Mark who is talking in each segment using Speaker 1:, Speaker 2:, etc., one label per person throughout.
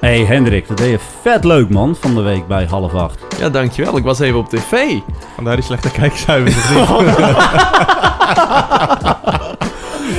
Speaker 1: hey Hendrik, dat deed je vet leuk man, van de week bij half acht.
Speaker 2: Ja, dankjewel. Ik was even op tv.
Speaker 3: Vandaar die slechte kijkcijfers.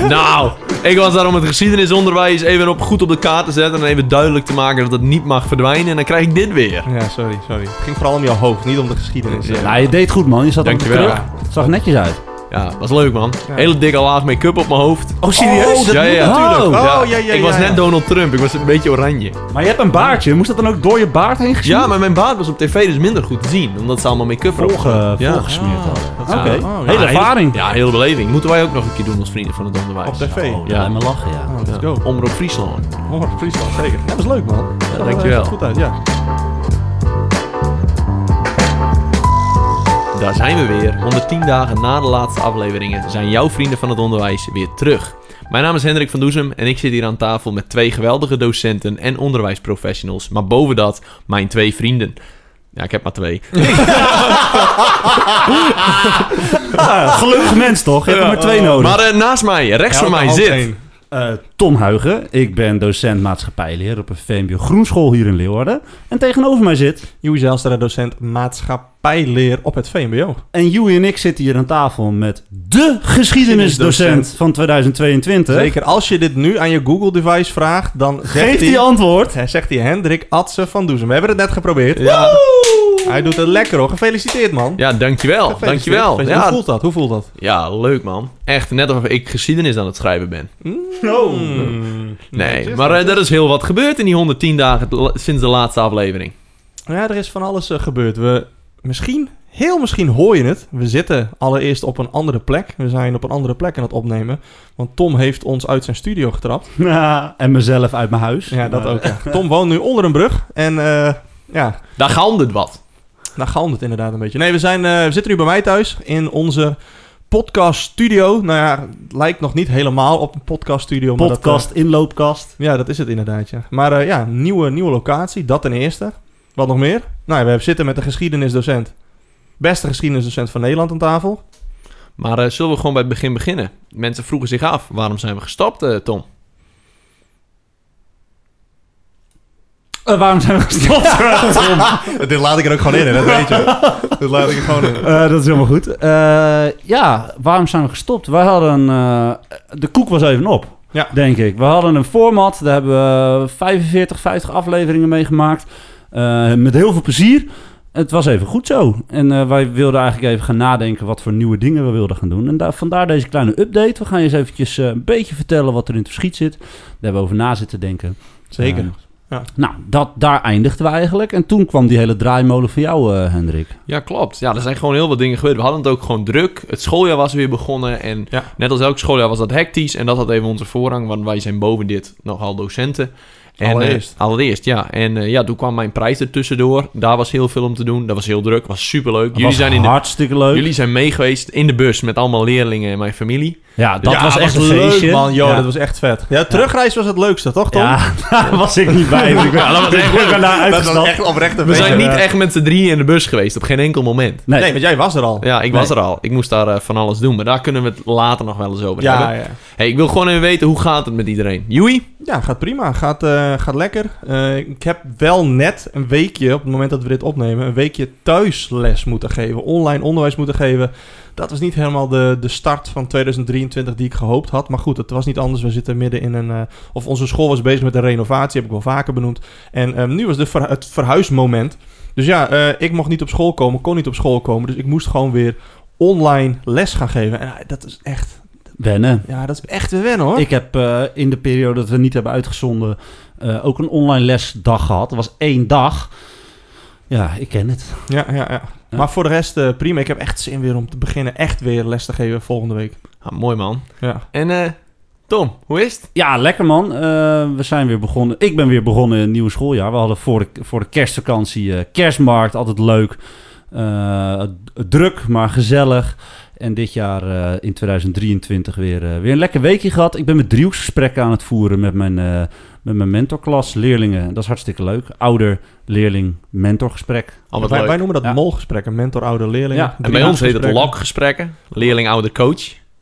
Speaker 2: Nou, ik was daar om het geschiedenisonderwijs even op, goed op de kaart te zetten. En even duidelijk te maken dat het niet mag verdwijnen. En dan krijg ik dit weer.
Speaker 3: ja, sorry, sorry. Het ging vooral om jouw hoofd, niet om de geschiedenis.
Speaker 2: Ja.
Speaker 1: Nou, je deed goed man, je zat op de
Speaker 2: Dankjewel.
Speaker 1: kruk. Het zag er netjes uit.
Speaker 2: Ja, was leuk man. Hele dikke laag make-up op mijn hoofd.
Speaker 3: Oh, serieus?
Speaker 2: ja, ja, ja.
Speaker 1: natuurlijk.
Speaker 2: Oh, ja.
Speaker 3: Oh, ja, ja,
Speaker 2: ik was
Speaker 3: ja, ja.
Speaker 2: net Donald Trump. Ik was een beetje oranje.
Speaker 1: Maar je hebt een baardje, moest dat dan ook door je baard heen gezien?
Speaker 2: Ja, maar mijn baard was op tv dus minder goed te zien. Omdat ze allemaal make-up erop
Speaker 1: Volge,
Speaker 2: hadden. ja.
Speaker 1: volgesmeerd hadden. Oké,
Speaker 2: zou-
Speaker 3: oh, ja.
Speaker 1: hele
Speaker 2: Ja, heel-
Speaker 1: ervaring.
Speaker 2: Ja, hele beleving. Moeten wij ook nog een keer doen als vrienden van het onderwijs.
Speaker 3: Op tv.
Speaker 1: Oh, ja, me lachen ja.
Speaker 3: Oh, let's
Speaker 2: Ja.
Speaker 3: go.
Speaker 2: Omroep Friesland.
Speaker 3: Oh, Friesland, zeker. Ja, dat was leuk, man. Ja,
Speaker 2: dankjewel.
Speaker 3: goed uit, ja.
Speaker 2: Daar zijn we weer. 110 dagen na de laatste afleveringen zijn jouw vrienden van het onderwijs weer terug. Mijn naam is Hendrik van Doezem en ik zit hier aan tafel met twee geweldige docenten en onderwijsprofessionals. Maar boven dat, mijn twee vrienden. Ja, ik heb maar twee.
Speaker 1: Ah, gelukkig mens toch, je hebt er maar twee nodig.
Speaker 2: Maar eh, naast mij, rechts van mij
Speaker 3: Elke
Speaker 2: zit...
Speaker 3: hand één.
Speaker 1: Eh, Tom Huigen, ik ben docent maatschappijleer op een VMBO Groenschool hier in Leeuwarden. En tegenover mij zit,
Speaker 3: Joey Zijlstra, docent maatschappijleer op het VMBO.
Speaker 1: en Joey en ik zitten hier aan tafel met de geschiedenisdocent van 2022.
Speaker 3: Zeker als je dit nu aan je Google-device vraagt, dan zegt
Speaker 1: Geeft
Speaker 3: hij...
Speaker 1: hij antwoord?
Speaker 3: Hij zegt hij Hendrik Atse van Doezem. We hebben het net geprobeerd.
Speaker 2: Ja,
Speaker 3: Hij doet het lekker hoor. Gefeliciteerd man.
Speaker 2: ja, dankjewel.
Speaker 3: Gefeliciteerd.
Speaker 2: Dankjewel.
Speaker 3: Gefeliciteerd. Hoe
Speaker 2: Ja,
Speaker 3: voelt dat? Hoe voelt dat?
Speaker 2: ja, leuk man. Echt, net alsof ik geschiedenis aan het schrijven ben.
Speaker 3: Hmm.
Speaker 2: Nee, maar eh, er is heel wat gebeurd in die 110 dagen la- sinds de laatste aflevering.
Speaker 3: Ja, er is van alles eh, gebeurd. We, misschien, heel misschien hoor je het. We zitten allereerst op een andere plek. We zijn op een andere plek aan het opnemen. Want Tom heeft ons uit zijn studio getrapt.
Speaker 1: Ja, en mezelf uit mijn huis.
Speaker 3: Ja, dat
Speaker 1: Maar-
Speaker 3: ook. ja. Tom woont nu onder een brug. En eh, ja,
Speaker 2: Daar gaan het wat.
Speaker 3: daar galmt het inderdaad een beetje. Nee, we, zijn, eh, we zitten nu bij mij thuis in onze podcast studio. Nou ja, het lijkt nog niet helemaal op een podcast studio. maar dat, eh,
Speaker 1: Podcast, inloopkast.
Speaker 3: Ja, dat is het inderdaad, ja. Maar eh, ja, nieuwe, nieuwe locatie, dat ten eerste. Wat nog meer? Nou, ja, we zitten met de geschiedenisdocent. Beste geschiedenisdocent van Nederland aan tafel.
Speaker 2: Maar eh, zullen we gewoon bij het begin beginnen? Mensen vroegen zich af, waarom zijn we gestapt, eh, Tom?
Speaker 1: Eh, waarom zijn we gestopt?
Speaker 3: Dit laat ik er ook gewoon in, dat weet je. Dit laat ik er gewoon in.
Speaker 1: Eh, dat is helemaal goed. Eh, ja, waarom zijn we gestopt? Wij hadden... eh, de koek was even op,
Speaker 3: Ja.
Speaker 1: denk ik. We hadden een format, daar hebben we 45, 50 afleveringen mee gemaakt. Eh, met heel veel plezier. Het was even goed zo. En eh, wij wilden eigenlijk even gaan nadenken wat voor nieuwe dingen we wilden gaan doen. En daar, vandaar deze kleine update. We gaan je eens eventjes eh, een beetje vertellen wat er in het verschiet zit. Daar hebben we over na zitten denken.
Speaker 3: Zeker.
Speaker 1: Eh,
Speaker 3: Ja.
Speaker 1: Nou, dat, daar eindigden we eigenlijk. En toen kwam die hele draaimolen van jou, eh, Hendrik.
Speaker 2: Ja, klopt. Ja, er zijn gewoon heel wat dingen gebeurd. We hadden het ook gewoon druk. Het schooljaar was weer begonnen. En
Speaker 3: Ja.
Speaker 2: net als elk schooljaar was dat hectisch. En dat had even onze voorrang, want wij zijn boven dit nogal docenten. En, eh,
Speaker 3: Allereerst.
Speaker 2: allereerst, ja. En eh, ja, toen kwam mijn prijs er tussendoor. Daar was heel veel om te doen. Dat was heel druk. was superleuk. Jullie
Speaker 1: was
Speaker 2: zijn, in de,
Speaker 1: hartstikke leuk.
Speaker 2: jullie zijn mee geweest in de bus met allemaal leerlingen en mijn familie.
Speaker 1: Ja, dat
Speaker 3: Ja,
Speaker 1: was echt een
Speaker 3: leuk,
Speaker 1: feestje.
Speaker 3: man. Yo,
Speaker 1: ja.
Speaker 3: dat was echt vet. Ja, terugreis was het leukste, toch Tom?
Speaker 1: Ja, daar was ik niet bij. want Ik ben,
Speaker 2: Ja, dat was echt
Speaker 1: ik ben
Speaker 2: leuk.
Speaker 1: daarna uitgestapt.
Speaker 3: oprecht
Speaker 2: We zijn niet
Speaker 1: eh,
Speaker 2: echt met z'n drieën in de bus geweest. Op geen enkel moment.
Speaker 1: Nee,
Speaker 3: Nee, want jij was er al.
Speaker 2: Ja, ik
Speaker 1: Nee.
Speaker 2: was er al. Ik moest daar eh, van alles doen. Maar daar kunnen we het later nog wel eens over
Speaker 3: ja,
Speaker 2: hebben.
Speaker 3: ja.
Speaker 2: Hey, ik wil gewoon even weten, hoe gaat het met iedereen? Joey?
Speaker 3: Ja, gaat prima. Gaat, eh, gaat lekker. Eh, ik heb wel net een weekje, op het moment dat we dit opnemen, een weekje thuisles moeten geven. Online onderwijs moeten geven. Dat was niet helemaal de, de start van 2023 die ik gehoopt had. Maar goed, het was niet anders. We zitten midden in een. eh, of onze school was bezig met een renovatie, heb ik wel vaker benoemd. En eh, nu was de verhu- het verhuismoment. Dus ja, eh, ik mocht niet op school komen, kon niet op school komen. Dus ik moest gewoon weer online les gaan geven. En eh, dat is echt.
Speaker 1: wennen.
Speaker 3: Ja, dat is echt weer wennen hoor.
Speaker 1: Ik heb eh, in de periode dat we niet hebben uitgezonden eh, ook een online lesdag gehad. Dat was één dag. Ja, ik ken het.
Speaker 3: Ja, ja, ja.
Speaker 1: Ja.
Speaker 3: Maar voor de rest eh, prima. Ik heb echt zin weer om te beginnen echt weer les te geven volgende week.
Speaker 2: Ah, mooi man.
Speaker 3: Ja.
Speaker 2: En eh, Tom, hoe is het?
Speaker 1: Ja, lekker man. Eh, we zijn weer begonnen. Ik ben weer begonnen in het nieuwe schooljaar. We hadden voor de, voor de kerstvakantie eh, kerstmarkt. Altijd leuk. Eh, d- druk, maar gezellig. En dit jaar eh, in 2023 weer, eh, weer een lekker weekje gehad. Ik ben met driehoeksgesprekken aan het voeren met mijn, eh, met mijn mentorklas, leerlingen. Dat is hartstikke leuk. Ouder, leerling, mentorgesprek.
Speaker 2: Al wat
Speaker 3: wij,
Speaker 2: leuk.
Speaker 3: wij noemen dat
Speaker 1: Ja.
Speaker 3: molgesprekken. Mentor, ouder, leerling.
Speaker 1: Ja. En
Speaker 2: en bij ons heet het lokgesprekken. Leerling, ouder, coach.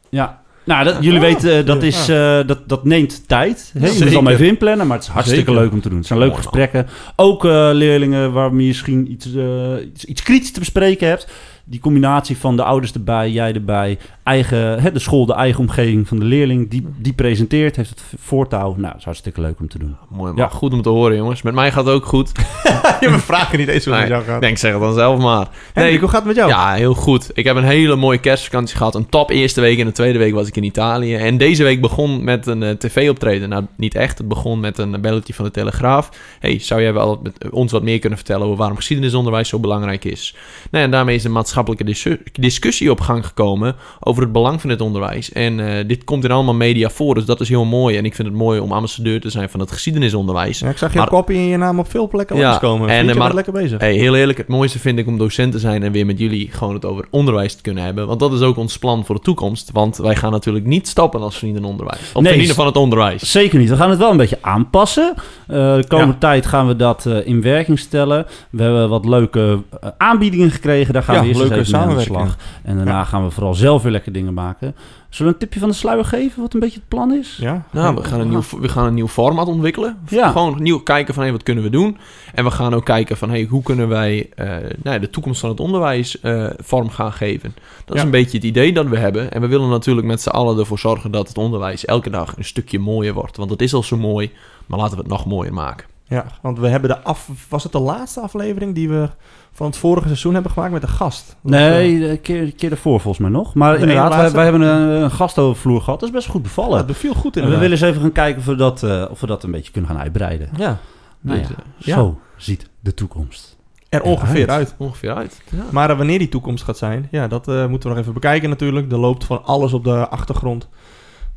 Speaker 1: Ja, Nou, dat, jullie
Speaker 3: Oh,
Speaker 1: weten, eh, dat,
Speaker 3: ja.
Speaker 1: is, eh, dat, dat neemt tijd. Hè? Je moet
Speaker 3: Zeker.
Speaker 1: al even inplannen, maar het is hartstikke
Speaker 3: Zeker.
Speaker 1: leuk om te doen. Het zijn leuke
Speaker 2: Mooi, man.
Speaker 1: gesprekken. Ook eh, leerlingen waarmee je misschien iets, eh, iets, iets kritisch te bespreken hebt. Die combinatie van de ouders erbij, jij erbij, eigen, hè, de school, de eigen omgeving van de leerling, die, die presenteert, heeft het voortouw. Nou, dat is hartstikke leuk om te doen.
Speaker 2: Ah, Mooi man.
Speaker 1: Ja.
Speaker 2: Goed om te horen, jongens. Met mij gaat het ook goed.
Speaker 3: Je me vragen niet eens hoe het
Speaker 2: Nee,
Speaker 3: met jou gaat.
Speaker 2: Ik denk, zeg het dan zelf maar.
Speaker 3: Hendrik, hoe gaat het met jou?
Speaker 2: Ja, heel goed. Ik heb een hele mooie kerstvakantie gehad. Een top eerste week en de tweede week was ik in Italië. En deze week begon met een eh, tv-optreden. Nou, niet echt. Het begon met een belletje van de Telegraaf. hey, zou jij wel met eh, ons wat meer kunnen vertellen over waarom geschiedenisonderwijs zo belangrijk is? Nou, en daarmee is een maatschappelijke discu- discussie op gang gekomen over het belang van het onderwijs. En eh, dit komt in allemaal media voor, dus dat is heel mooi. En ik vind het mooi om ambassadeur te zijn van het geschiedenisonderwijs.
Speaker 3: Ja, ik zag je
Speaker 2: Maar-
Speaker 3: kopie in je naam op veel plekken
Speaker 2: Ja,
Speaker 3: langskomen.
Speaker 2: en, eh,
Speaker 3: En, je
Speaker 2: maar-
Speaker 3: bent lekker bezig.
Speaker 2: Hey, heel eerlijk, het mooiste vind ik om docent te zijn en weer met jullie gewoon het over onderwijs te kunnen hebben. Want dat is ook ons plan voor de toekomst. Want wij gaan natuurlijk niet stappen als vrienden onderwijs. Of
Speaker 1: Nee,
Speaker 2: vrienden
Speaker 1: s-
Speaker 2: van het onderwijs.
Speaker 1: Zeker niet. We gaan het wel een beetje aanpassen. Eh, de komende
Speaker 2: Ja.
Speaker 1: tijd gaan we dat eh, in werking stellen. We hebben wat leuke eh, aanbiedingen gekregen. Daar gaan
Speaker 3: Ja,
Speaker 1: we eerst eens
Speaker 3: leuke
Speaker 1: even mee aan de
Speaker 3: samenwerking.
Speaker 1: slag. En daarna
Speaker 3: Ja.
Speaker 1: gaan we vooral zelf weer lekker dingen maken. Zullen we een tipje van de sluier geven wat een beetje het plan is?
Speaker 3: Ja?
Speaker 2: Nou, we gaan, een nieuw, we gaan een nieuw format ontwikkelen.
Speaker 1: Ja.
Speaker 2: Gewoon nieuw kijken van hey, wat kunnen we doen. En we gaan ook kijken van hey, hoe kunnen wij eh, nou, ja, de toekomst van het onderwijs eh, vorm gaan geven. Dat is
Speaker 3: Ja.
Speaker 2: een beetje het idee dat we hebben. En we willen natuurlijk met z'n allen ervoor zorgen dat het onderwijs elke dag een stukje mooier wordt. Want het is al zo mooi, maar laten we het nog mooier maken.
Speaker 3: Ja, want we hebben de af... Was het de laatste aflevering die we van het vorige seizoen hebben gemaakt met een gast? Dat, eh,
Speaker 1: Nee, een keer, een keer ervoor volgens mij nog. Maar
Speaker 3: De
Speaker 1: inderdaad,
Speaker 3: ene
Speaker 1: wij,
Speaker 3: laatste?
Speaker 1: wij hebben een, een gastovervloer gehad. Dat is best goed
Speaker 3: ja,
Speaker 1: bevallen.
Speaker 3: het eh, beviel goed
Speaker 1: en we
Speaker 3: inderdaad.
Speaker 1: willen eens even gaan kijken of we dat, eh, of we dat een beetje kunnen gaan uitbreiden.
Speaker 3: Ja,
Speaker 1: Nou
Speaker 2: Dus,
Speaker 1: ja,
Speaker 2: eh, ja.
Speaker 1: Zo ziet de toekomst.
Speaker 3: er ongeveer uit.
Speaker 2: Ongeveer uit. Ja.
Speaker 3: Maar eh, wanneer die toekomst gaat zijn, ja, dat eh, moeten we nog even bekijken natuurlijk. Er loopt van alles op de achtergrond.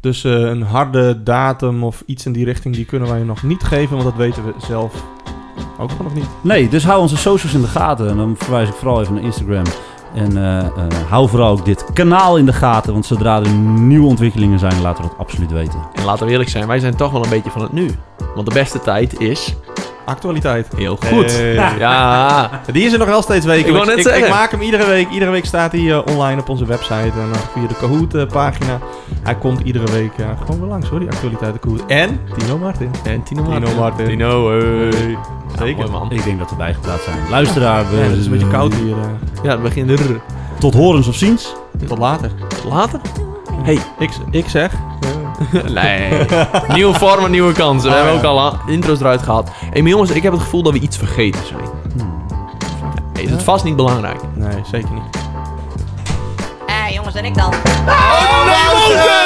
Speaker 3: Dus eh, een harde datum of iets in die richting, die kunnen wij nog niet geven, want dat weten we zelf ook gewoon nog niet.
Speaker 1: Nee, dus hou onze socials in de gaten. En dan verwijs ik vooral even naar Instagram. En eh, eh, hou vooral ook dit kanaal in de gaten. Want zodra er nieuwe ontwikkelingen zijn, laten we dat absoluut weten.
Speaker 2: En laten we eerlijk zijn, wij zijn toch wel een beetje van het nu. Want de beste tijd is
Speaker 3: Actualiteit.
Speaker 2: heel goed.
Speaker 3: Hey.
Speaker 2: Ja,
Speaker 3: Die is er nog wel steeds weken.
Speaker 2: Ik wou net
Speaker 3: ik,
Speaker 2: zeggen.
Speaker 3: ik maak hem iedere week. Iedere week staat hij eh, online op onze website en eh, via de Kahoot-pagina. hij komt iedere week eh, gewoon weer langs hoor, die actualiteit de Kahoot. En Tino Martin.
Speaker 2: en Tino Martin.
Speaker 3: Tino Martin.
Speaker 2: Tino, hey.
Speaker 3: Zeker.
Speaker 2: Ja, mooi man.
Speaker 1: Ik denk dat we bijgepraat zijn. Luisteraar, we,
Speaker 3: Ja, het is een beetje koud hier. eh.
Speaker 2: Ja, het begint er.
Speaker 1: Tot horens of ziens.
Speaker 3: Tot later.
Speaker 2: Later?
Speaker 3: Ik, ik zeg... eh,
Speaker 2: Nee. nieuwe vormen, nieuwe kansen. We hebben ook al a- intro's eruit gehad. Hé, maar jongens, ik heb het gevoel dat we iets vergeten zijn. Is het vast niet belangrijk?
Speaker 3: nee, zeker niet.
Speaker 4: Eh, jongens, en ik dan.
Speaker 2: Oh,